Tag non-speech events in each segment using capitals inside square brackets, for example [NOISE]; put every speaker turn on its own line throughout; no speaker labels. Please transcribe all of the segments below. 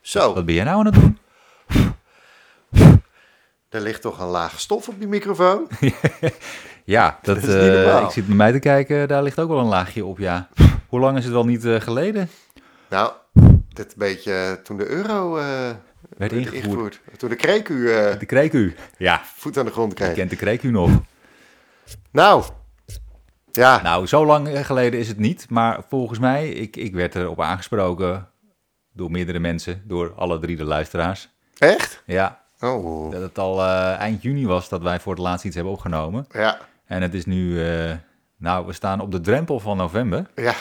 Zo,
Wat ben jij nou aan het doen?
er ligt toch een laag stof op die [LAUGHS] microfoon? [LAUGHS]
Ja, dat,
is niet
eh,
normaal.
ik zit naar mij te kijken. Daar ligt ook wel een laagje op, ja. Hoe lang is het wel niet eh, geleden?
Nou, dit beetje eh, toen de euro eh, werd
ingevoerd.
ingevoerd. Toen de kreek u eh,
De kreeku. Ja,
voet aan de grond
je
kreeg.
kent de kreeku nog.
Nou, ja,
Nou, zo lang geleden is het niet. Maar volgens mij, ik, ik werd erop aangesproken door meerdere mensen. Door alle drie de luisteraars.
echt?
Ja,
Oh,
dat het al eh, eind juni was dat wij voor het laatst iets hebben opgenomen.
ja,
En het is nu, eh, nou, we staan op de drempel van november.
ja,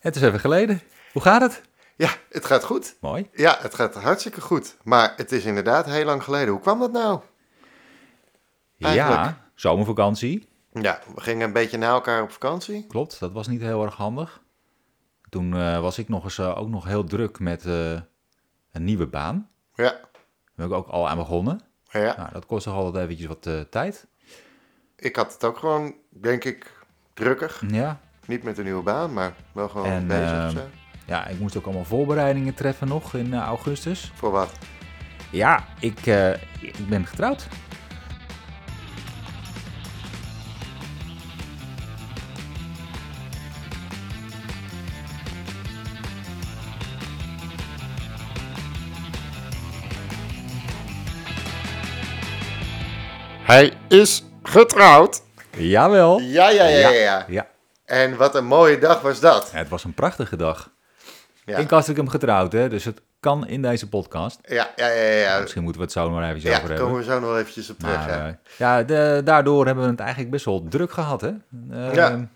Het is even geleden. Hoe gaat het?
ja, het gaat goed.
Mooi.
Ja, het gaat hartstikke goed. Maar het is inderdaad heel lang geleden. Hoe kwam dat nou? Eigenlijk.
Ja, zomervakantie.
Ja, we gingen een beetje na elkaar op vakantie.
Klopt, dat was niet heel erg handig. Toen eh, was ik nog eens eh, ook nog heel druk met eh, een nieuwe baan.
Ja,
Daar ben ik ook al aan begonnen.
ja.
Nou, dat kost toch altijd eventjes wat eh, tijd.
Ik had het ook gewoon, denk ik, drukker.
Ja.
Niet met een nieuwe baan, maar wel gewoon
En,
bezig. of
ehm,
zo.
ja, ik moest ook allemaal voorbereidingen treffen nog in eh, augustus.
Voor wat?
Ja, ik, eh, ik ben getrouwd.
Hij is getrouwd.
Jawel.
Ja, ja, ja, ja. ja.
Ja,
En wat een mooie dag was dat.
het was een prachtige dag.
Ja,
Ik had ik hem getrouwd, hè, dus het kan in deze podcast.
ja, ja, ja. ja, ja.
Misschien moeten we het zo nog maar even
Ja, daar
over hebben.
komen we zo nog wel eventjes op terug.
Maar
ja.
eh, ja, de- daardoor hebben we het eigenlijk best wel druk gehad, hè? Eh,
Ja.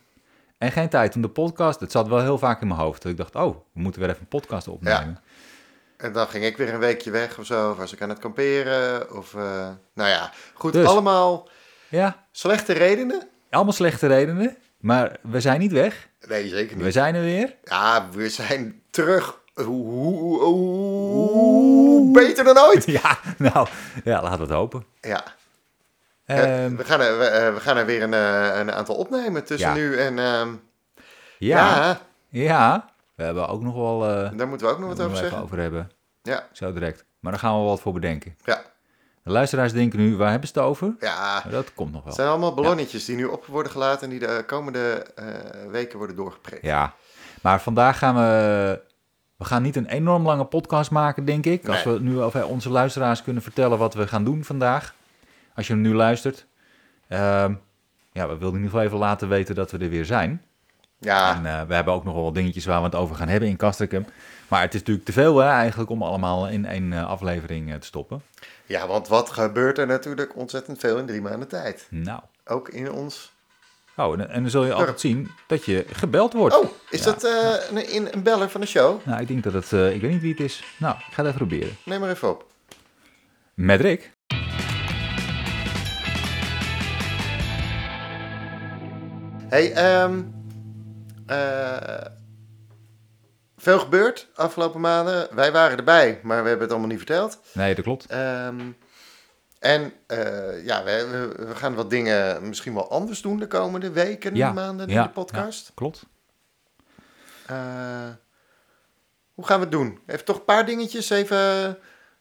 En geen tijd om de podcast. Het zat wel heel vaak in mijn hoofd. Dat ik dacht, oh, we moeten weer even een podcast opnemen.
En dan ging ik weer een weekje weg of zo. Of was ik aan het kamperen. Of, eh, nou ja, goed.
Dus.
Allemaal
Ja.
slechte redenen?
allemaal slechte redenen. Maar we zijn niet weg.
Nee, zeker
We
niet.
zijn er weer. [LAUGHS]
Ja, we zijn terug. Oeh, oeh, oeh, beter dan ooit.
Ja, nou, ja, laten we het hopen.
Ja.
Ehm,
we, gaan er, we, eh, we gaan er weer een, eh, een aantal opnemen tussen
Ja.
nu en... ehm,
ja,
ja.
ja, we hebben ook nog wel... eh, daar
daar moeten we ook nog wat
moeten we
over
even
zeggen.
over hebben.
Ja,
Zo direct. Maar daar gaan we wat voor bedenken.
ja,
De luisteraars denken nu, waar hebben ze het over?
ja.
Maar dat komt nog
Het
wel.
zijn allemaal ballonnetjes die nu op worden gelaten en die de komende eh, weken worden doorgeprikt.
Ja, maar vandaag gaan we... We gaan niet een enorm lange podcast maken, denk ik. Als
Nee.
we nu over onze luisteraars kunnen vertellen wat we gaan doen vandaag. Als je hem nu luistert. Ehm, ja, we wilden in ieder geval even laten weten dat we er weer zijn.
Ja,
En eh, we hebben ook nog wel wat dingetjes waar we het over gaan hebben in Castricum. Maar het is natuurlijk te veel hè, eigenlijk om allemaal in één eh, aflevering eh, te stoppen.
ja, want wat gebeurt er natuurlijk ontzettend veel in drie maanden tijd?
Nou,
Ook in ons...
oh, en, en dan zul je altijd zien dat je gebeld wordt.
Oh, is dat eh, een, in- een beller van de show?
Nou, ik denk dat het... eh, ik weet niet wie het is. Nou, ik ga het even proberen.
Neem maar even op.
Met Rick.
hey, ehm, eh, veel gebeurd afgelopen maanden. Wij waren erbij, maar we hebben het allemaal niet verteld.
Nee, dat klopt.
Ehm, en eh, ja, we, we- we gaan wat dingen misschien wel anders doen de komende weken en
Ja,
maanden
ja,
in de podcast.
ja, klopt.
Eh, hoe gaan we het doen? Even toch een paar dingetjes even eh,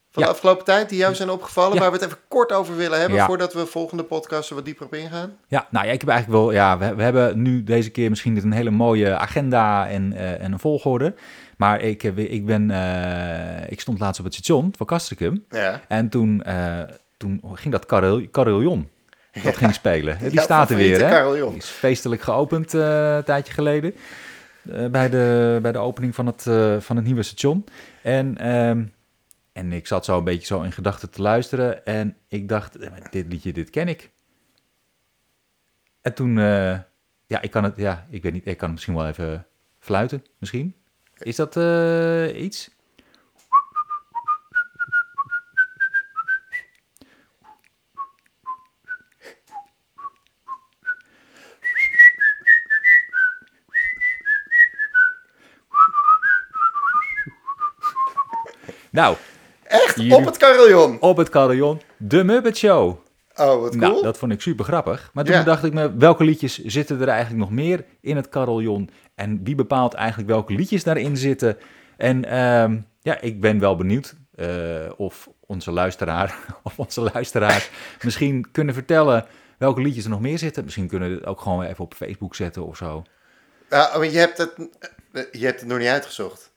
van
Ja.
de afgelopen tijd die jou zijn opgevallen,
Ja.
waar we het even kort over willen hebben
Ja.
voordat we volgende podcast er wat dieper op ingaan.
Ja, nou ja, ik heb eigenlijk wel. Ja, we, we hebben nu deze keer misschien net een hele mooie agenda en, eh, en een volgorde. Maar ik, heb- ik, ben, eh, ik stond laatst op het station van Castricum.
Ja.
En toen, eh, toen ging dat carrel- carillon. Dat ging spelen. Die
Ja,
staat er weer.
favoriete
Hè?
carillon.
Die is feestelijk geopend eh, een tijdje geleden. eh, bij, de, bij de opening van het, eh, van het nieuwe station. En, ehm, en ik zat zo een beetje zo in gedachten te luisteren. En ik dacht, eh, maar dit liedje, dit ken ik. En toen, eh, ja, ik kan het, ja, ik weet niet, ik kan het misschien wel even fluiten, misschien. Is dat eh, iets? Nou,
Echt
Jullie-
op het carillon.
op het carillon, de Muppet Show.
Oh, wat cool.
Nou, dat vond ik super grappig. Maar toen
Ja.
dacht ik me, welke liedjes zitten er eigenlijk nog meer in het carillon? En wie bepaalt eigenlijk welke liedjes daarin zitten? En ehm, ja, ik ben wel benieuwd eh, of onze luisteraar [LAUGHS] of onze
[LAUGHS]
luisteraars misschien kunnen vertellen welke liedjes er nog meer zitten. Misschien kunnen we het ook gewoon even op Facebook zetten of zo.
Ja, oh, want je hebt, het, eh, je hebt het nog niet uitgezocht.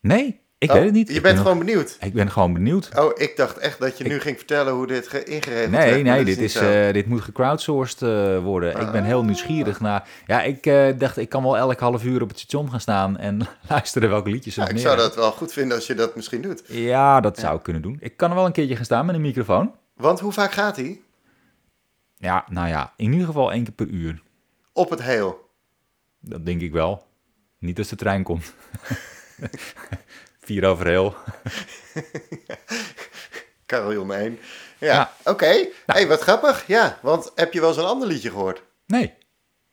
Nee, ik
Oh,
weet het niet.
Je
Ik
bent
ben
gewoon benieuwd.
nog- Ik ben gewoon benieuwd.
Oh, ik dacht echt dat je nu ging vertellen hoe dit ge- ingeregeld werd,
Nee,
maar
nee,
dat
dit,
niet
is,
zo.
eh, dit moet gecrowdsourced eh, worden. Ik ben heel
Ah.
nieuwsgierig naar... Ja, ik eh, dacht, ik kan wel elk half uur op het station gaan staan en [LAUGHS] luisteren welke liedjes er
Ja,
nog
ik
meer
zou
zijn.
dat wel goed vinden als je dat misschien doet.
Ja, dat zou ik kunnen doen. Ik kan er wel een keertje gaan staan met een microfoon.
Want hoe vaak gaat hij?
Ja, nou ja, in ieder geval één keer per uur.
Op het heel.
Dat denk ik wel. Niet als de trein komt. [LAUGHS] Vier over heel.
Carillon 1. Ja,
Ja. Nou.
oké. hey, wat grappig. Ja, want heb je wel zo'n ander liedje gehoord?
Nee,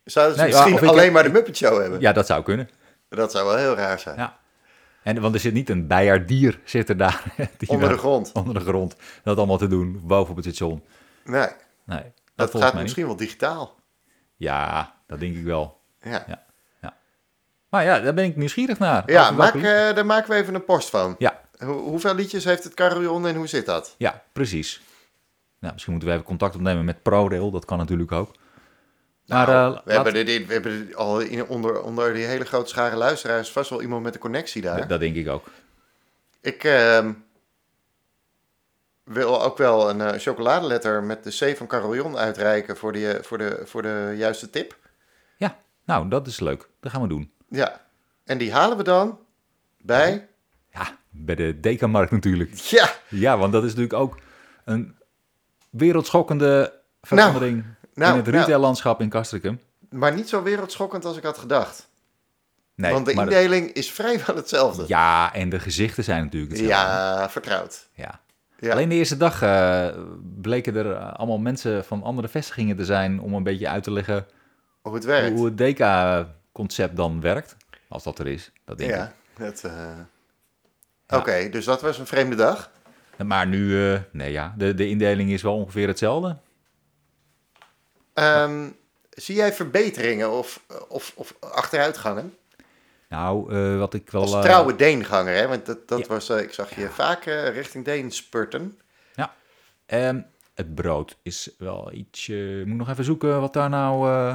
Zouden ze
Nee,
misschien
of ik
alleen
heb-
maar de Muppet Show hebben?
ja, dat zou kunnen.
Dat zou wel heel raar zijn.
Ja. En, want er zit niet een bijaardier zit er daar. [LAUGHS] die
Onder de
daar-
grond.
Onder de grond. Dat allemaal te doen, boven op het station.
Nee, dat,
Nee, dat, volgens
gaat
mij niet.
misschien wel digitaal.
Ja, dat denk ik wel.
Ja, ja,
Ja. Maar ja, daar ben ik nieuwsgierig naar. Over
maak,
welke-
eh, daar maken we even een post van.
Ja,
Hoe- hoeveel liedjes heeft het carillon en hoe zit dat?
ja, precies. Nou, misschien moeten we even contact opnemen met ProRail. Dat kan natuurlijk ook. Maar
Nou,
eh,
we,
laat-
hebben dit, we hebben dit al in, onder, onder die hele grote schare luisteraars vast wel iemand met een connectie daar.
dat denk ik ook.
Ik ehm, wil ook wel een eh, chocoladeletter met de C van carillon uitreiken voor, die, eh, voor, de, voor de juiste tip.
Ja, nou, dat is leuk. Dat gaan we doen.
Ja, en die halen we dan bij...
Mhm. Ja, bij de Dekamarkt natuurlijk.
Ja,
Ja, want dat is natuurlijk ook een wereldschokkende verandering
nou,
in het
nou.
retaillandschap in Castricum.
maar niet zo wereldschokkend als ik had gedacht.
Nee,
Want de
maar dat-
indeling is vrijwel hetzelfde. Ja,
ja, en de gezichten zijn natuurlijk hetzelfde.
vertrouwd.
Ja.
Ja.
Alleen de eerste dag eh, bleken er eh, allemaal mensen van andere vestigingen te zijn om een beetje uit te leggen
Hoe het werkt.
hoe het DK-concept dan werkt. Als dat er is, dat denk
ja, dat... eh,
Ja.
Oké, dus dat was een vreemde dag.
ik. Maar nu, eh, nee ja, de, de indeling is wel ongeveer hetzelfde.
Ehm, zie jij verbeteringen of, of, of achteruitgangen?
Nou, eh, wat ik wel...
Als
eh,
trouwe Deenganger, hè? Want dat, dat
Ja.
was, eh, ik zag je vaak eh, richting Deen spurten.
ehm, het brood is wel iets... eh, moet ik nog even zoeken wat daar nou... eh,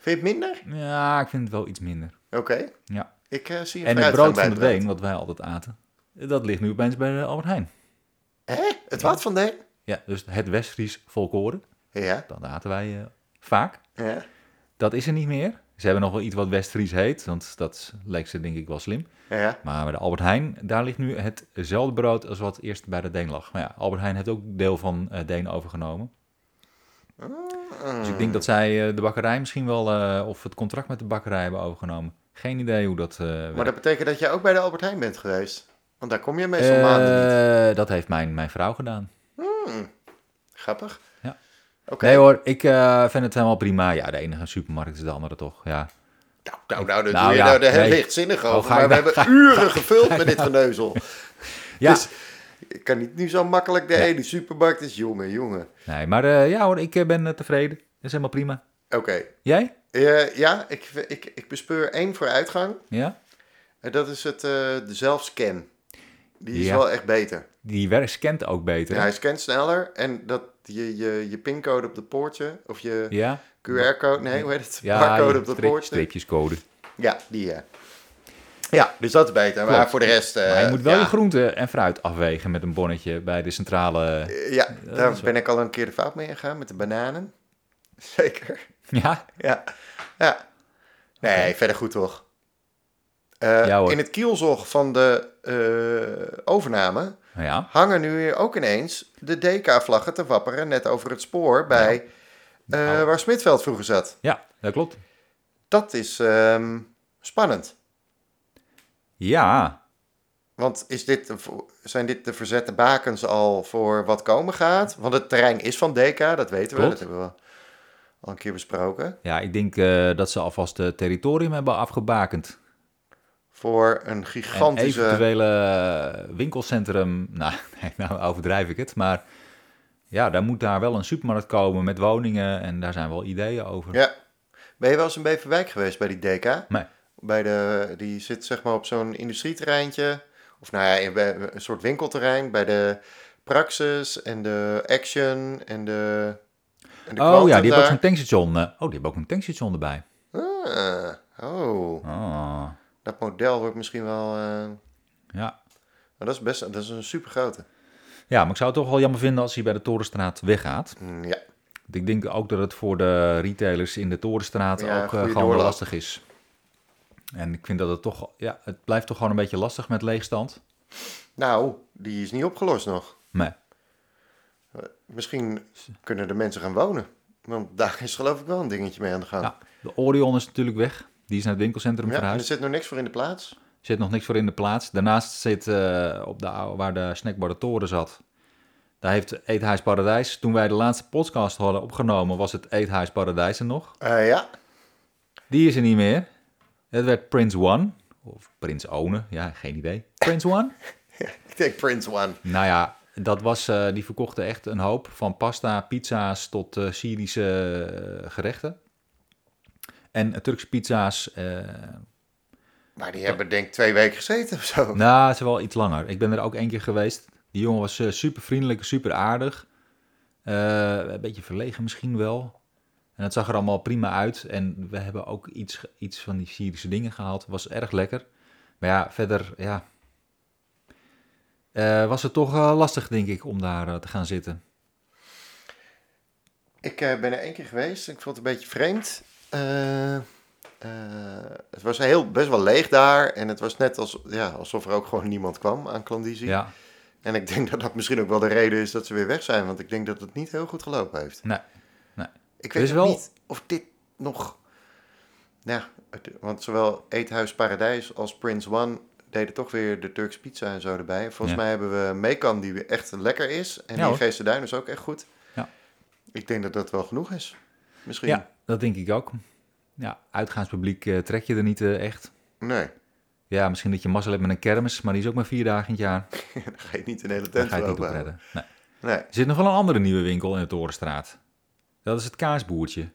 Vind je het minder?
ja, ik vind het wel iets minder.
Oké.
Ja.
Ik eh, zie een
En het brood van de
Deen.
Deen, wat wij altijd aten, dat ligt nu opeens bij de Albert Heijn.
Hè? Het wat van Deen?
Ja, dus het Westfries volkoren,
Ja.
dat aten wij eh, vaak.
ja.
Dat is er niet meer. Ze hebben nog wel iets wat Westfries heet, want dat leek ze denk ik wel slim.
Ja.
Maar bij de Albert Heijn, daar ligt nu hetzelfde brood als wat eerst bij de Deen lag. Maar ja, Albert Heijn heeft ook deel van eh, Deen overgenomen.
Ah.
Dus ik denk dat zij eh, de bakkerij misschien wel, eh, of het contract met de bakkerij hebben overgenomen. Geen idee hoe dat eh,
Maar
werkt.
dat betekent dat jij ook bij de Albert Heijn bent geweest. Want daar kom je meestal maanden niet.
Eh, dat heeft mijn, mijn vrouw gedaan.
Grappig.
Ja.
Oké.
Nee hoor, ik eh, vind het helemaal prima. Ja, de ene supermarkt is de andere toch, ja.
Nou, nou, nou, dat
Nou,
doe je
ja,
nou de heel
nee.
lichtzinnig
Oh,
over.
ga
maar
ik
we
nou-
hebben
[LAUGHS]
uren gevuld met dit geneuzel.
Ja,
Dus ik kan niet nu zo makkelijk de
Ja.
ene supermarkt is. Jongen, jongen.
nee, maar eh, ja hoor, ik eh, ben eh, tevreden. Dat is helemaal prima.
Oké.
Jij?
Eh, ja, ik, ik, ik bespeur één vooruitgang.
Ja?
En dat is het, eh, de zelfscan. Die is
Ja.
wel echt beter.
Die werk scant ook beter.
Ja,
hè?
hij scant sneller en dat je, je, je pincode op de poortje, of je
Ja?
QR-code, nee, hoe heet het?
Ja,
Barcode op
je
dat
streep-
poortje. Eh,
streepjescode.
Ja, die ja. Ja, dus dat is beter. Maar
Klopt.
voor de rest... eh,
maar je moet wel
ja,
je groente en fruit afwegen met een bonnetje bij de centrale.
Eh, Ja,
dat
daar
is wel-
ben ik al een keer de fout mee gegaan met de bananen. [LAUGHS] Zeker.
Ja,
Ja. ja. Nee,
Oké.
verder goed toch? Eh,
Ja, hoor.
in het kielzog van de eh, overname
nou ja.
hangen nu weer ook ineens de DK-vlaggen te wapperen net over het spoor bij eh,
Nou.
waar Smitveld vroeger zat.
ja, dat klopt.
Dat is ehm, spannend.
Ja,
Want is dit, de vo- zijn dit de verzette bakens al voor wat komen gaat? Want het terrein is van DK, dat weten we. Dat
Klopt.
hebben we al een keer besproken.
ja ik denk eh, dat ze alvast het territorium hebben afgebakend.
Voor een
En
gigantische...
eventuele eh, winkelcentrum, nou, [LAUGHS] nee, nou overdrijf ik het, maar ja, daar moet daar wel een supermarkt komen met woningen en daar zijn wel ideeën over.
Ja. Ben je wel eens in Beverwijk geweest bij die DK?
Nee.
Bij de, die zit zeg maar op zo'n industrieterreintje. Of nou ja, in- bij een soort winkelterrein. Bij de Praxis en de Action en de. En de
oh ja, die hebben ook zo'n
Quantum
tankstation. eh, oh, die hebben ook een tankstation erbij.
daar. Ah, oh,
Oh,
dat model wordt misschien wel. eh,
ja.
nou, dat is best. Dat is een super grote.
ja, maar ik zou het toch wel jammer vinden als hij bij de Torenstraat weggaat.
Hm, ja.
Want Ik denk ook dat het voor de retailers in de Torenstraat
Ja,
ook eh,
goede
gewoon wel
doorloop.
lastig is. En ik vind dat het toch, ja, het blijft toch gewoon een beetje lastig met leegstand.
Nou, die is niet opgelost nog.
Nee.
Misschien kunnen de mensen gaan wonen. Want daar is geloof ik wel een dingetje mee aan de gang.
Ja, de Orion is natuurlijk weg. Die is naar het winkelcentrum
Ja, dus- en
verhuisd.
er zit nog niks voor in de plaats.
zit nog niks voor in de plaats. Daarnaast zit eh, op de, oude- waar de snackbar de toren zat. Daar heeft Eethuis Paradijs. Toen wij de laatste podcast hadden opgenomen, was het Eethuis Paradijs er nog.
Eh, ja,
Die is er niet meer. Het werd Prince One. Of Prins One, ja, geen idee. Prince One?
ik denk Prince One.
nou ja, dat was, eh, die verkochten echt een hoop. Van pasta, pizza's tot eh, Syrische eh, gerechten. En eh, Turkse pizza's. eh,
Maar die hebben denk ik twee weken gezeten of zo.
Nou, het is wel iets langer. Ik ben er ook één keer geweest. Die jongen was super vriendelijk, super aardig. Eh, een beetje verlegen misschien wel. En het zag er allemaal prima uit. En we hebben ook iets, ge- iets van die Syrische dingen gehaald. Was erg lekker. Maar ja, verder, ja. Eh, was het toch eh, lastig, denk ik, om daar eh, te gaan zitten.
Ik eh, ben er één keer geweest. Ik vond het een beetje vreemd. Eh, eh, het was heel, best wel leeg daar. En het was net als, ja, alsof er ook gewoon niemand kwam aan klandizie.
Ja,
En ik denk dat dat misschien ook wel de reden is dat ze weer weg zijn. Want ik denk dat het niet heel goed gelopen heeft.
nee. nee.
Ik
Er
weet
is
ook
wel-
niet of dit nog... Nou, het- want zowel Eethuis Paradijs als Prince One deden toch weer de Turks pizza en zo erbij. Volgens
Ja.
mij hebben we Mekan die weer echt lekker is. En
Ja,
die
hoor.
Geesterduin is ook echt goed.
Ja.
Ik denk dat dat wel genoeg is. Misschien.
ja, dat denk ik ook. Ja, uitgaanspubliek eh, trek je er niet eh, echt.
Nee, [LAUGHS]
Ja, misschien dat je mazzel hebt met een kermis, maar die is ook maar vier dagen in het jaar.
dan ga je niet een hele
Daar
tent
ga je het niet
lopen.
op redden. Nee.
Nee.
Er zit nog wel een andere nieuwe winkel in de Torenstraat. Dat is het kaasboertje.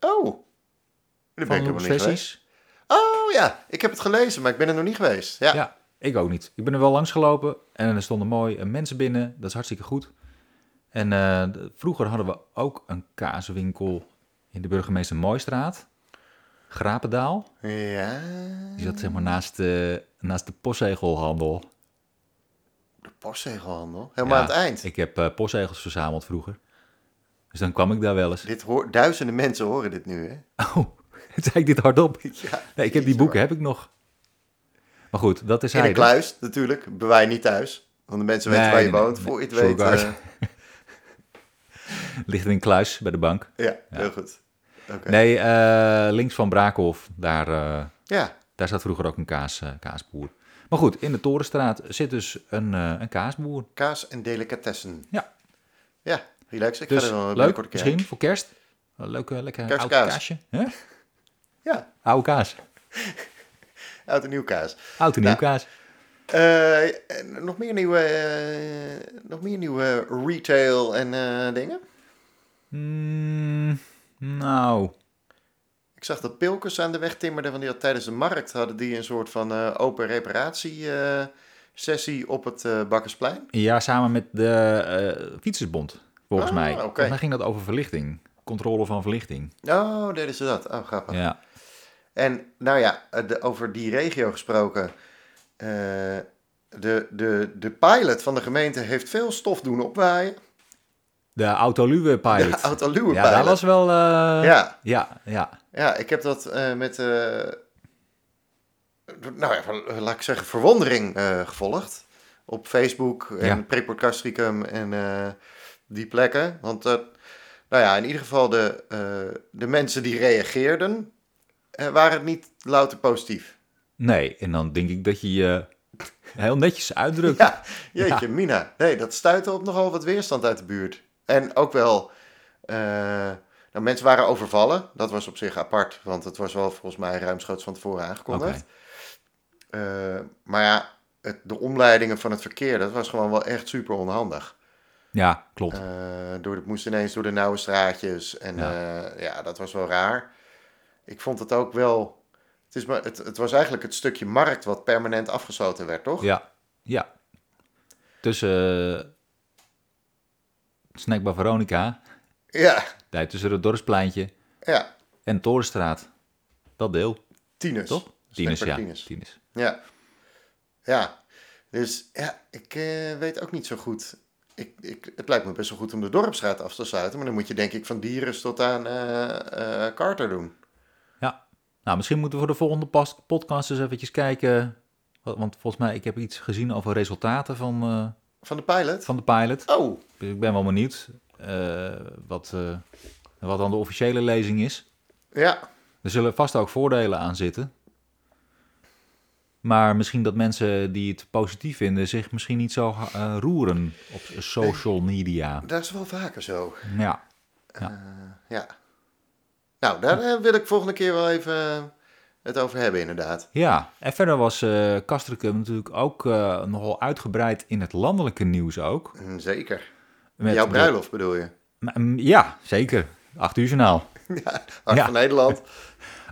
Oh, daar ben ik
Van
helemaal niet geweest.
Sessies.
Oh ja, ik heb het gelezen, maar ik ben er nog niet geweest. Ja,
Ja. ik ook niet. Ik ben er wel langs gelopen en er stonden mooi eh, mensen binnen. Dat is hartstikke goed. En eh, d- vroeger hadden we ook een kaaswinkel in de burgemeester Mooistraat. Grapendaal.
ja.
Die zat zeg maar naast de, naast de postzegelhandel.
de postzegelhandel. Helemaal
Ja,
aan het eind.
Ik heb eh, postzegels verzameld vroeger. Dus dan kwam ik daar wel eens. [LAUGHS]
Dit hoor, duizenden mensen horen dit nu, hè?
Oh, [LAUGHS] zei ik dit hardop?
[LAUGHS] Ja.
Nee, ik heb die boeken, heb ik nog. Maar goed, dat is
In
hij.
de kluis, natuurlijk. Bewaar je niet thuis. Want de mensen
dus. Nee,
weten waar je
nee,
woont.
nee.
Voor je het
Sorry,
weet.
guys.
eh,
Ligt in een kluis bij de bank.
ja, heel goed. Oké.
Nee, eh, links van Braakhof, daar, eh,
Ja,
daar zat vroeger ook een kaas, eh, kaasboer. Maar goed, in de Torenstraat zit dus een, eh, een kaasboer.
kaas en delicatessen.
Ja.
Ja, relax. Ik
Dus
ga er wel
leuk,
binnenkort een keer
misschien voor kerst. Een leuk, eh, lekker oud
Kerstkaas.
kaasje. Hè?
heen. Ja,
Oude kaas.
oud en nieuw kaas.
Oud en nieuw
Nou.
kaas.
Eh, en nog meer nieuwe, eh, nog meer nieuwe retail en eh, dingen.
Mm, nou,
Ik zag dat Pilkers aan de weg timmerde, want die had tijdens de markt hadden die een soort van eh, open reparatie eh, sessie op het eh, Bakkersplein.
ja, samen met de eh, Fietsersbond, volgens
Ah,
mij.
oké.
Volgens mij ging dat over verlichting. Controle van verlichting.
Oh, deden ze dat? Oh, grappig.
Ja.
En nou ja, eh, de- over die regio gesproken. eh, de, de, de pilot van de gemeente heeft veel stof doen opwaaien.
De Autoluwe Pilot.
De Autoluwe
ja,
pilot.
dat was wel... eh,
Ja,
Ja, ja.
ja, ik heb dat eh, met, eh, nou ja, van- laat ik zeggen, verwondering eh, gevolgd. Op Facebook en
Ja.
Preporcastricum en eh, die plekken. Want eh, nou ja, in ieder geval de, eh, de mensen die reageerden, eh, waren niet louter positief.
Nee, en dan denk ik dat je je heel netjes [LAUGHS] uitdrukt.
Ja, jeetje, Mina. Nee, dat stuitte op nogal wat weerstand uit de buurt. En ook wel, eh, nou, mensen waren overvallen. Dat was op zich apart, want het was wel volgens mij ruimschoots van tevoren aangekondigd. Eh, maar ja, het, de omleidingen van het verkeer, dat was gewoon wel echt super onhandig.
Ja, klopt.
Eh, door, het moest ineens door de nauwe straatjes en eh,
Ja.
ja, ja dat was wel raar. Ik vond het ook wel Het, is maar, het, het was eigenlijk het stukje markt wat permanent afgesloten werd, toch?
Ja, ja. Tussen eh, Snackbar Veronica,
Ja,
daar tussen het Dorpspleintje
ja.
en Torenstraat. Dat deel,
Tieners.
toch? Tieners, ja.
Snackbar
Tieners.
Tieners. Ja. Ja. Dus ja, ik eh, weet ook niet zo goed. Ik, ik, het lijkt me best wel goed om de dorpsstraat af te sluiten. Maar dan moet je denk ik van Dieres tot aan eh, eh, Carter doen.
Ja. Nou, misschien moeten we voor de volgende pas- podcast eens eventjes kijken. Wa- Want volgens mij, ik heb iets gezien over resultaten van, eh,
Van de pilot?
van de pilot.
Oh,
Dus ik ben wel benieuwd eh, wat, eh, wat dan de officiële lezing is.
ja.
Er zullen vast ook voordelen aan zitten. Maar misschien dat mensen die het positief vinden zich misschien niet zo eh, roeren op social
[LAUGHS]
media.
Dat is wel vaker zo.
Ja,
Ja. Nou, daar eh, wil ik volgende keer wel even eh, het over hebben, inderdaad.
ja. en verder was eh Castricum natuurlijk ook eh, nogal uitgebreid in het landelijke nieuws ook.
Mm, Zeker.
Met
Jouw
de-
bruiloft bedoel je?
M- m- Ja, zeker. Acht uur journaal.
Ja, Hart
Ja.
van Nederland.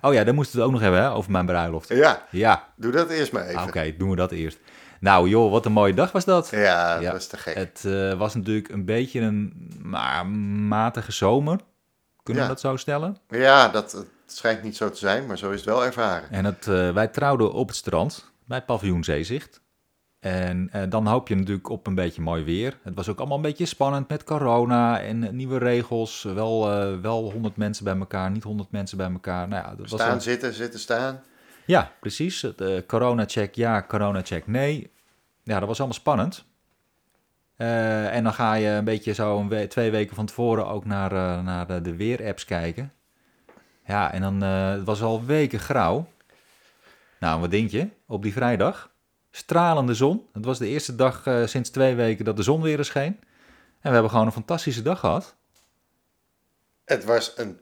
Oh ja, daar moesten we het ook nog hebben hè, over mijn bruiloft.
[LAUGHS] Ja,
Ja,
doe dat eerst maar even.
ah, oké, doen we dat eerst. Nou joh, wat een mooie dag was dat.
Ja,
Ja.
dat is te gek.
Het eh, was natuurlijk een beetje een maar, matige zomer. Kunnen
Ja.
we dat zo stellen?
Ja, dat het schijnt niet zo te zijn, maar zo is het wel ervaren.
En het, eh, wij trouwden op het strand bij paviljoen Zeezicht. En eh, dan hoop je natuurlijk op een beetje mooi weer. Het was ook allemaal een beetje spannend met corona en eh, nieuwe regels. Wel, eh, wel 100 mensen bij elkaar, niet 100 mensen bij elkaar. Nou ja, dat was
Staan,
een-
zitten, zitten, staan.
ja precies. Het, eh, corona-check ja, corona-check nee. Ja, dat was allemaal spannend. Eh, en dan ga je een beetje zo een we- twee weken van tevoren ook naar, eh, naar de, de weer-apps kijken. Ja, en dan eh, het was al weken grauw. Nou, wat denk je? Op die vrijdag. Stralende zon. Het was de eerste dag eh, sinds twee weken dat de zon weer eens scheen. En we hebben gewoon een fantastische dag gehad.
Het was een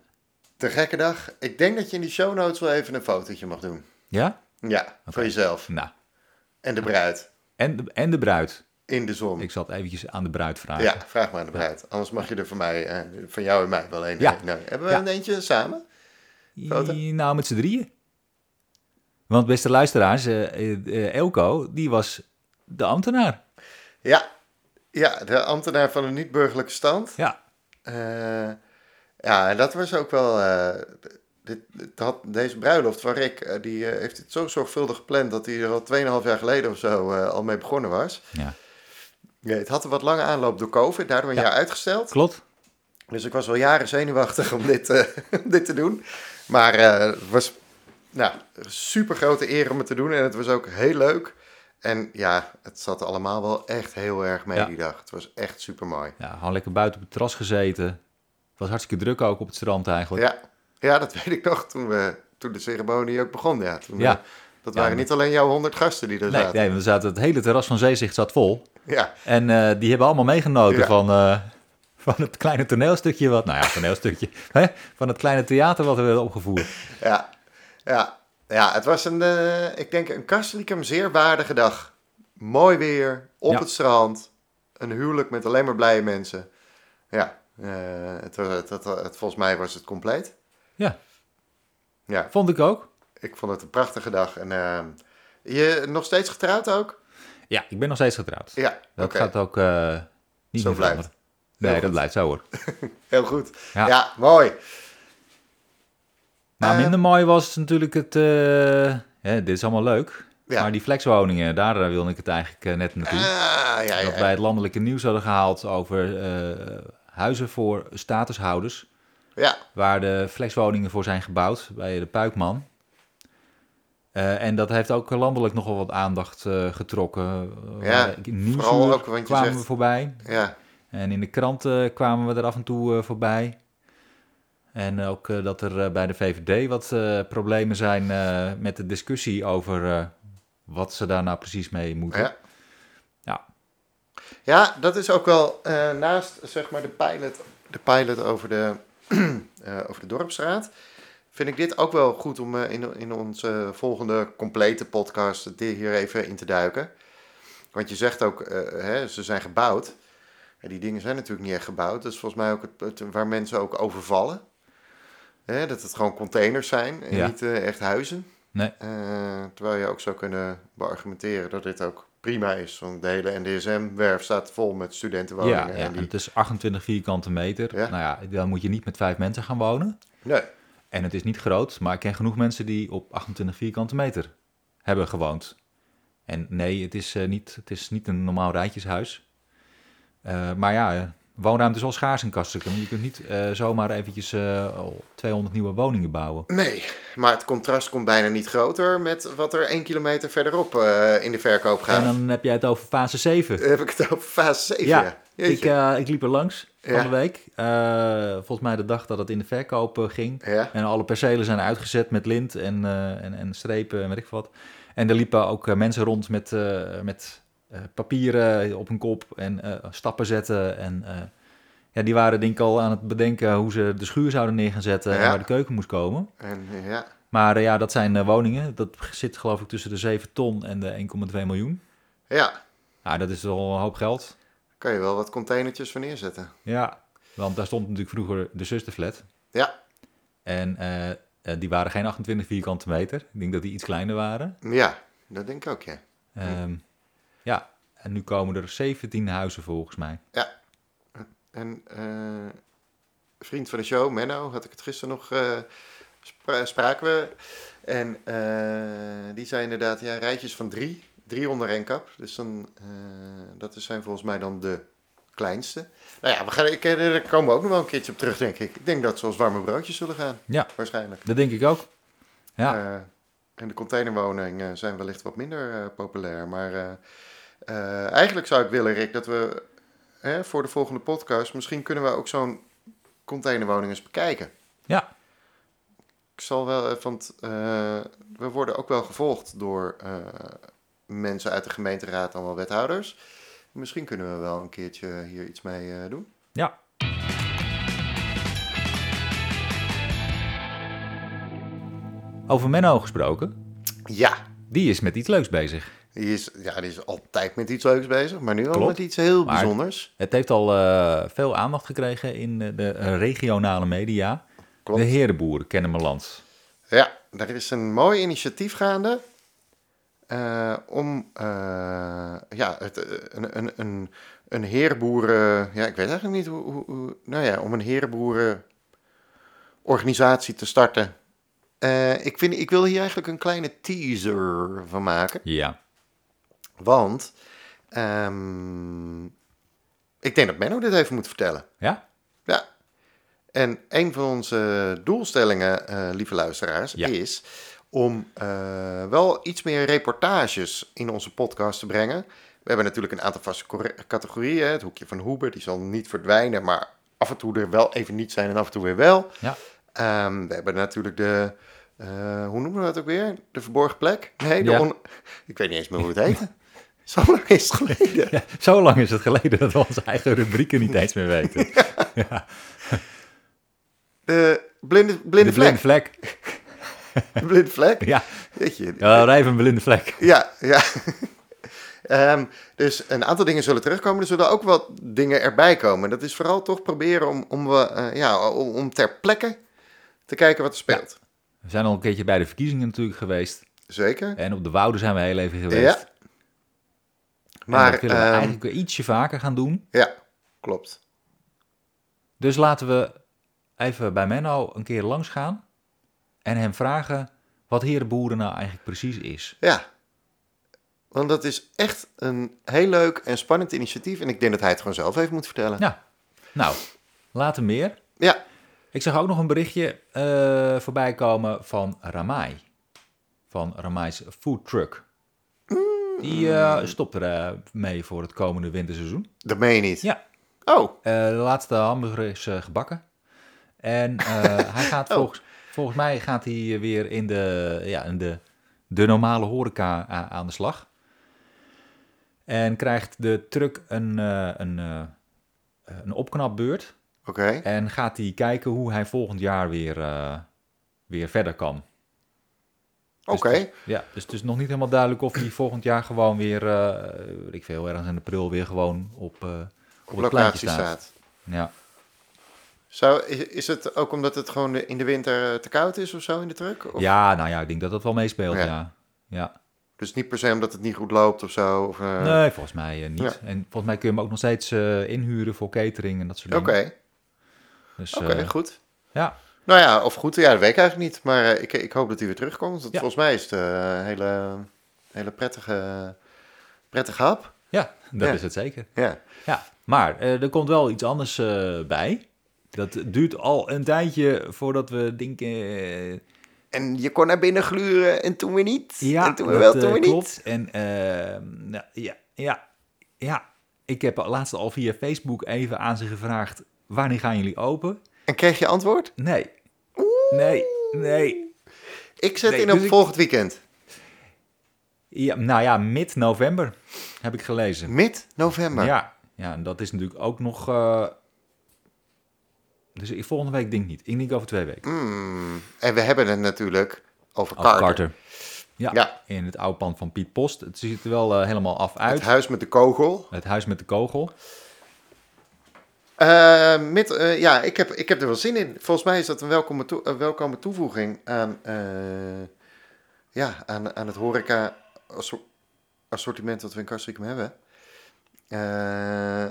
te gekke dag. Ik denk dat je in die show notes wel even een fotootje mag doen.
Ja?
Ja, voor jezelf.
Nou,
En de bruid.
en de, en de bruid.
In de zon.
Ik zal het eventjes aan de bruid vragen.
Ja, vraag maar aan de bruid. Anders mag je er van mij, eh, van jou en mij wel een. eh,
Ja.
Nee, Hebben we
Ja.
een eentje samen? Foto?
I- Nou, met z'n drieën. Want beste luisteraars, eh, eh, eh, Elko, die was de ambtenaar.
Ja. Ja, de ambtenaar van een niet-burgerlijke stand.
Ja,
Eh, ja, en dat was ook wel. eh, dit, dit had, deze bruiloft van Rick, eh, die eh, heeft het zo zorgvuldig gepland dat hij er al 2,5 jaar geleden of zo eh, al mee begonnen was.
ja.
Ja, het had een wat lange aanloop door COVID, daardoor een
Ja.
jaar uitgesteld.
klopt.
Dus ik was wel jaren zenuwachtig om dit, eh, [LAUGHS] om dit te doen. Maar eh, het was nou, een super grote eer om het te doen en het was ook heel leuk. En ja, het zat allemaal wel echt heel erg mee
Ja.
die dag. Het was echt super mooi.
Ja, gewoon lekker buiten op het terras gezeten. Het was hartstikke druk ook op het strand eigenlijk.
Ja, ja dat [LAUGHS] weet ik nog toen, we, toen de ceremonie ook begon. Ja, toen,
Ja.
eh, dat waren
Ja, maar-
niet alleen jouw honderd gasten die er
nee,
zaten.
nee, we zaten, het hele terras van Zeezicht zat vol.
Ja,
En eh, die hebben allemaal meegenoten
Ja.
van, eh, van het kleine toneelstukje wat... Nou ja, toneelstukje. [LAUGHS] hè, van het kleine theater wat we werden opgevoerd.
ja, ja, ja. Het was een, eh, ik denk, een Castricum zeer waardige dag. Mooi weer, op
Ja.
het strand. Een huwelijk met alleen maar blije mensen. Ja, eh, het, was- het, het, het- volgens mij was het compleet.
Ja,
Ja,
vond ik ook.
ik vond het een prachtige dag. En eh, je nog steeds getrouwd ook?
Ja, ik ben nog steeds getrouwd.
Ja,
Dat
oké.
gaat ook eh, niet
Zo blijft.
meer veranderen. Nee,
goed.
dat blijft zo hoor.
Heel goed.
Ja.
ja mooi.
Maar
Eh,
minder mooi was natuurlijk het... eh, hè, dit is allemaal leuk.
Ja.
Maar die flexwoningen, daar eh, wilde ik het eigenlijk eh, net naartoe.
Ah, ja, ja,
Dat
ja.
wij het landelijke nieuws hadden gehaald over eh, huizen voor statushouders.
ja.
Waar de flexwoningen voor zijn gebouwd bij de Puikman. Eh, en dat heeft ook landelijk nogal wat aandacht eh, getrokken. Eh,
Ja,
waar- in Nieuwsuur
vooral ook, want je
kwamen
zegt-
we voorbij.
Ja,
En in de kranten kwamen we er af en toe eh, voorbij. En ook eh, dat er eh, bij de VVD wat eh, problemen zijn eh, met de discussie over eh, wat ze daar nou precies mee moeten.
ja.
Ja.
Ja, dat is ook wel eh, naast zeg maar de pilot, de pilot over, de, [CLEARS THROAT] eh, over de dorpsraad. Vind ik dit ook wel goed om eh, in, in onze volgende complete podcast dit hier even in te duiken. Want je zegt ook, eh, hè, ze zijn gebouwd. En die dingen zijn natuurlijk niet echt gebouwd. Dat is volgens mij ook het, het- waar mensen ook overvallen. Hè, dat het gewoon containers zijn en
Ja.
niet eh, echt huizen.
Nee.
Eh, terwijl je ook zou kunnen beargumenteren dat dit ook prima is. Want de hele NDSM-werf staat vol met studentenwoningen.
Ja, ja,
en
en
die...
het is 28 vierkante meter.
Ja.
Nou ja, dan moet je niet met vijf mensen gaan wonen.
Nee,
En het is niet groot, maar ik ken genoeg mensen die op 28 vierkante meter hebben gewoond. En nee, het is, eh, niet, het is niet een normaal rijtjeshuis. Eh, maar ja, eh, woonruimte is wel schaars in Kastrikum. Je kunt niet eh, zomaar eventjes eh, 200 nieuwe woningen bouwen.
nee, maar het contrast komt bijna niet groter met wat er één kilometer verderop eh, in de verkoop gaat.
En dan heb jij het over fase 7.
Heb ik het over fase 7?
Ja,
Ja,
Ik,
Jeetje.
eh, ik liep er langs van
Ja.
de week. Eh, volgens mij de dag dat het in de verkoop eh, ging.
ja.
En alle percelen zijn uitgezet met lint en, eh, en, en strepen en weet ik wat. En er liepen ook eh, mensen rond met, eh, met eh, papieren op hun kop en eh, stappen zetten. En eh, ja, die waren denk ik al aan het bedenken hoe ze de schuur zouden neer gaan zetten en
Ja.
waar de keuken moest komen.
En, eh, ja.
Maar eh, ja, dat zijn eh, woningen. Dat zit geloof ik tussen de 7 ton en de 1,2 miljoen.
ja,
Nou, dat is wel een hoop geld.
kan je wel wat containertjes van neerzetten.
Ja, want daar stond natuurlijk vroeger de zusterflat.
Ja.
En eh, eh, die waren geen 28 vierkante meter. Ik denk dat die iets kleiner waren.
Ja, dat denk ik ook, ja.
Ehm, ja, en nu komen er 17 huizen volgens mij.
En eh, vriend van de show, Menno, had ik het gisteren nog, eh, spra- spraken we. En eh, die zei inderdaad, ja, rijtjes van drie. Drie onder één kap. Dus dan, eh, dat is- zijn volgens mij dan de kleinste. Nou ja, we gaan, ik, eh, daar komen we ook nog wel een keertje op terug, denk ik. Ik denk dat ze als warme broodjes zullen gaan.
Ja.
Waarschijnlijk.
Dat denk ik ook. Ja,
Eh, en de containerwoningen zijn wellicht wat minder eh, populair. Maar eh, eh, eigenlijk zou ik willen, Rick, dat we hè, voor de volgende podcast... misschien kunnen we ook zo'n containerwoning eens bekijken.
Ja.
Ik zal wel, eh, want eh, we worden ook wel gevolgd door eh, mensen uit de gemeenteraad, allemaal wethouders. Misschien kunnen we wel een keertje hier iets mee eh, doen.
ja. Over Menno gesproken.
Ja,
Die is met iets leuks bezig.
die is, ja, die is altijd met iets leuks bezig, maar nu al
Klopt.
met iets heel
Maar-
bijzonders.
Het heeft al eh, veel aandacht gekregen in eh, de eh, regionale media.
Klopt.
De herenboeren kennen mijn land.
Ja, er is een mooi initiatief gaande eh, om eh, ja, het, eh, een, een, een, een heerboeren... Ja, ik weet eigenlijk niet hoe, hoe, hoe- Nou ja, om een heerboerenorganisatie te starten. Eh, ik, vind, ik wil hier eigenlijk een kleine teaser van maken.
Ja.
Want ehm, ik denk dat Menno dit even moet vertellen.
Ja?
Ja. En een van onze doelstellingen, eh, lieve luisteraars,
Ja.
is om eh, wel iets meer reportages in onze podcast te brengen. We hebben natuurlijk een aantal vaste corre- categorieën. Het hoekje van Hubert, die zal niet verdwijnen, maar af en toe er wel even niet zijn en af en toe weer wel.
Ja.
Ehm, we hebben natuurlijk de, eh, hoe noemen we dat ook weer? De verborgen plek? Nee, de
Ja.
on- ik weet niet eens meer hoe het heet. [LAUGHS] Zo lang is het geleden.
ja. Zo lang is het geleden dat we onze eigen rubrieken niet eens meer [LAUGHS] weten.
De blinde, blinde,
De blinde
vlek.
vlek.
De blinde vlek.
Ja,
Weet je,
ja rij een blinde vlek.
Ja, ja. [LAUGHS] Ehm, dus een aantal dingen zullen terugkomen. Er zullen ook wat dingen erbij komen. Dat is vooral toch proberen om, om, we, eh, ja, om, om ter plekke te kijken wat er speelt.
We zijn al een keertje bij de verkiezingen natuurlijk geweest.
Zeker.
En op de Wouden zijn we heel even geweest.
Ja,
maar
Maar
dat willen we
ehm,
eigenlijk weer ietsje vaker gaan doen.
ja, klopt.
Dus laten we even bij Menno een keer langs gaan. En hem vragen wat herenboeren nou eigenlijk precies is.
Ja. Want dat is echt een heel leuk en spannend initiatief. En ik denk dat hij het gewoon zelf even moet vertellen.
Ja, nou, later meer.
Ja,
Ik zag ook nog een berichtje eh, voorbij komen van Ramai. Van Ramai's food truck.
Mm.
Die eh, stopt er eh, mee voor het komende winterseizoen.
dat meen je niet.
Ja.
Oh,
Eh, de laatste hamburger is eh, gebakken. En
[LAUGHS]
eh, hij gaat
Oh.
volgens, volgens mij gaat hij weer in de, ja, in de, de normale horeca a- aan de slag. En krijgt de truck een, eh, een, eh, een opknapbeurt.
oké.
En gaat hij kijken hoe hij volgend jaar weer, eh, weer verder kan.
Oké.
Dus het is- ja, dus het is nog niet helemaal duidelijk of hij volgend jaar gewoon weer, eh weet ik veel, ergens in april weer gewoon op, eh, op,
Op
het plaatje
locatie staat.
Ja.
Zou, is, is het ook omdat het gewoon de- in de winter eh, te koud is of zo in de truck? Of-
Ja, nou ja, ik denk dat dat wel meespeelt,
Ja.
ja. ja.
Dus niet per se omdat het niet goed loopt of zo? Of, eh,
nee, volgens mij eh, niet.
ja.
En volgens mij kun je hem ook nog steeds eh, inhuren voor catering en dat soort
Oké,
dingen. Dus,
oké,
eh,
goed.
ja.
Nou ja, of goed, ja, dat weet ik eigenlijk niet. Maar eh, ik, ik hoop dat hij weer terugkomt. Want
Ja.
Volgens mij is het eh, een hele, hele prettige, prettige hap.
ja, dat
Ja.
is het zeker.
Ja.
Ja, maar eh, er komt wel iets anders eh, bij. Dat duurt al een tijdje voordat we denken... eh,
En je kon naar binnen gluren en toen weer niet. en toen weer wel,
dat,
toen
eh,
weer niet.
klopt. En eh, nou, ja, ja, ja, ik heb laatst al via Facebook even aan ze gevraagd... wanneer gaan jullie open?
En kreeg je antwoord?
Nee, nee, nee.
Ik zet
Nee,
in op
dus ik-
volgend weekend.
Ja, nou ja, mid-november heb ik gelezen.
Mid-november.
Ja, ja, en dat is natuurlijk ook nog... eh, dus ik- volgende week denk ik niet. Ik denk over twee weken.
Mm. En we hebben het natuurlijk over
Over
Carter.
Carter. Ja,
Ja.
in het oude pand van Piet Post. Het ziet er wel eh, helemaal af uit.
Het huis met de kogel.
Het huis met de kogel.
Eh, mid, eh, ja, ik heb, ik heb er wel zin in. Volgens mij is dat een welkome, toe- een welkome toevoeging aan, eh, ja, aan, aan het horeca asso- assortiment dat we in Kastrikum hebben. Eh,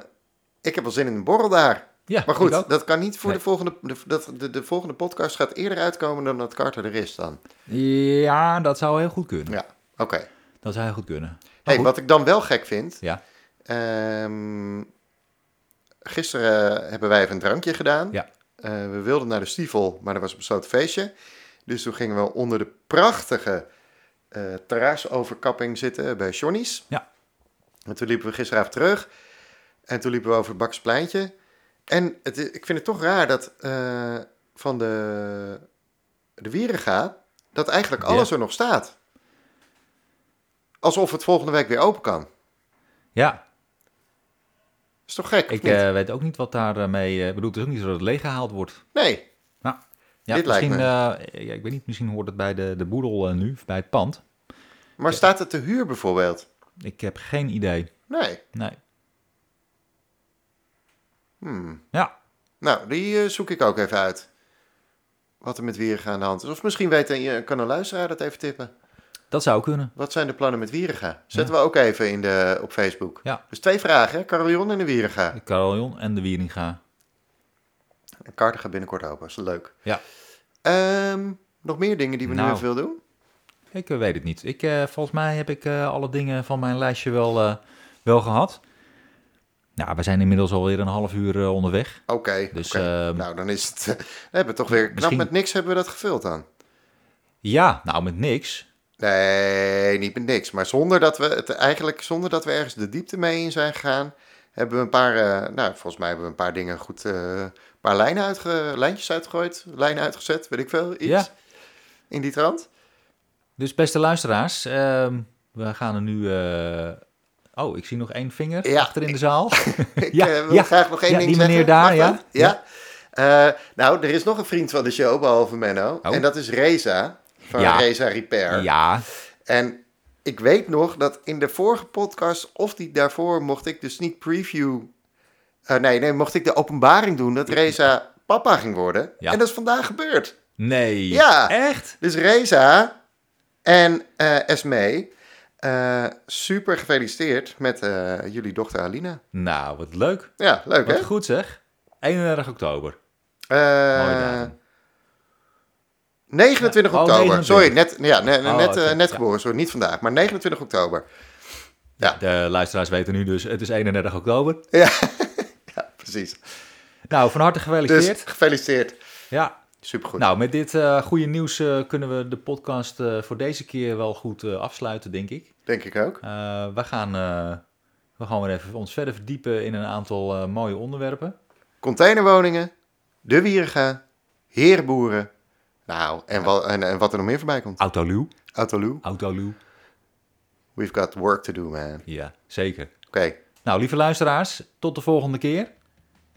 ik heb wel zin in een borrel daar.
Ja,
Maar
ik ook.
goed, dat kan niet voor
Nee.
de volgende. De, dat, de, de volgende podcast gaat eerder uitkomen dan dat Carter er is dan.
Ja, dat zou heel goed kunnen.
Ja, oké.
Dat zou heel goed kunnen. Maar
Hey,
goed.
wat ik dan wel gek vind.
Oh. Ja.
Ehm, gisteren hebben wij even een drankje gedaan.
Ja.
Eh, we wilden naar de Stiefel, maar er was een besloten feestje. Dus toen gingen we onder de prachtige eh, terrasoverkapping zitten bij Johnny's.
Ja.
En toen liepen we gisteravond terug. En toen liepen we over het Bakspleintje. En het, i- ik vind het toch raar dat eh, van de, de Wierenga... dat eigenlijk
Ja.
alles er nog staat. Alsof het volgende week weer open kan.
Ja,
Is toch gek? of
ik
niet?
eh, weet ook niet wat daarmee... eh, Ik bedoel, het is ook niet zo dat het leeggehaald wordt.
Nee.
Ja,
Dit lijkt
misschien, eh, ja, ik weet niet, misschien hoort het bij de, de boedel eh, nu, of bij het pand.
Maar staat het te huur bijvoorbeeld?
Ik heb geen idee.
Nee.
Nee.
Hmm.
Ja,
Nou, die eh, zoek ik ook even uit. Wat er met Wierig aan de hand is. Of misschien weet een, kan een luisteraar dat even tippen.
dat zou kunnen.
Wat zijn de plannen met Wieriga? Zetten we ook even in de, op Facebook.
Ja.
Dus twee vragen, hè? Carillon en de Wieriga.
De carillon en de Wieringa.
En Carter gaat binnenkort open, is leuk.
Ja.
Ehm, nog meer dingen die we nu
Nou.
even willen doen?
Ik eh, weet het niet. Ik, eh, volgens mij heb ik eh, alle dingen van mijn lijstje wel, eh, wel gehad. Nou, we zijn inmiddels alweer een half uur eh, onderweg.
Oké,
Dus,
oké.
ehm,
nou dan is het... we hebben we toch weer knap
Misschien-
met niks hebben we dat gevuld dan.
Ja, nou met niks.
Nee, niet met niks. Maar zonder dat we het eigenlijk, zonder dat we ergens de diepte mee in zijn gegaan, hebben we een paar, eh, nou volgens mij hebben we een paar dingen goed, eh, een paar lijnen uitge, lijntjes uitgegooid, lijnen uitgezet, weet ik veel, iets
Ja.
in die
[LAUGHS]
trant.
Dus beste luisteraars, ehm, we gaan er nu... eh, Oh, ik zie nog één vinger
Ja.
achter in de zaal.
Ik
Ja,
eh, wil
ja.
graag nog één
Ja,
ding
die
zeggen.
meneer daar,
Mag
ja.
dat? Ja. Eh, nou, er is nog een vriend van de show, behalve Menno,
Oh.
en dat is Reza, van
Ja.
Reza Repair.
ja,
En ik weet nog dat in de vorige podcast, of die daarvoor, mocht ik dus niet preview. eh, nee, nee, mocht ik de openbaring doen dat Reza papa ging worden.
Ja.
En dat is vandaag gebeurd.
nee.
Ja.
Echt?
Dus Reza en eh Esme, eh, super gefeliciteerd met eh, jullie dochter Alina.
Nou, wat leuk.
Ja, leuk hè?
Wat goed zeg. 31 oktober.
Eh,
Mooie datum.
29
Ja, oh,
oktober.
29.
Sorry, net, ja, ne-
Oh,
net,
oké,
eh, net
ja.
geboren. Sorry, niet vandaag, maar 29 oktober. ja.
De luisteraars weten nu dus, het is 31 oktober.
[LAUGHS] Ja, precies.
Nou, van harte
Dus
gefeliciteerd.
gefeliciteerd.
Ja,
Supergoed.
Nou, met dit eh, goede nieuws eh, kunnen we de podcast eh, voor deze keer wel goed eh, afsluiten, denk ik.
Denk ik ook.
Eh, we, gaan, eh, we gaan weer even ons verder verdiepen in een aantal eh, mooie onderwerpen.
Containerwoningen, de Wieriga, herenboeren. Nou, en, wa- en, en wat er nog meer voorbij komt.
Autoluw.
Autoloo,
Autoluw.
we've got work to do, man. Oké,
Ja, zeker. Nou, lieve luisteraars, tot de volgende keer.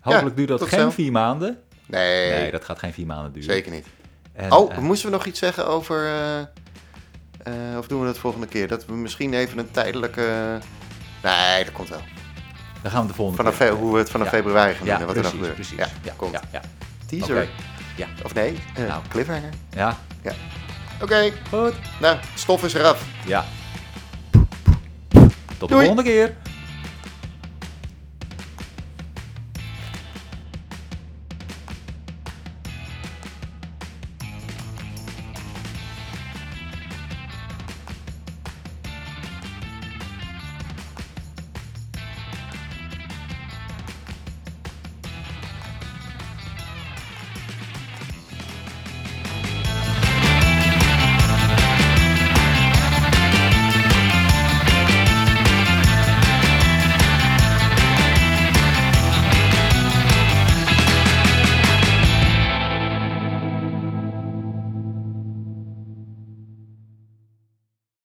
Hopelijk duurt dat
tot
geen
snel.
vier maanden.
nee,
Nee, dat gaat geen vier maanden duren.
zeker niet.
En,
oh,
eh,
moesten we nog iets zeggen over... eh, eh, of doen we dat volgende keer? Dat we misschien even een tijdelijke... Nee, dat komt wel.
dan gaan we de volgende
Vanaf
keer.
fe- hoe we het vanaf
Ja.
februari gaan doen
Ja,
en wat er
precies,
dan gebeurt.
precies.
Ja, komt.
ja, ja.
Teaser.
Oké. Ja.
Of nee, eh,
Nou.
cliffhanger.
Ja,
Oké,
goed.
nou, stof is eraf.
Ja. Tot de
Doei.
volgende keer.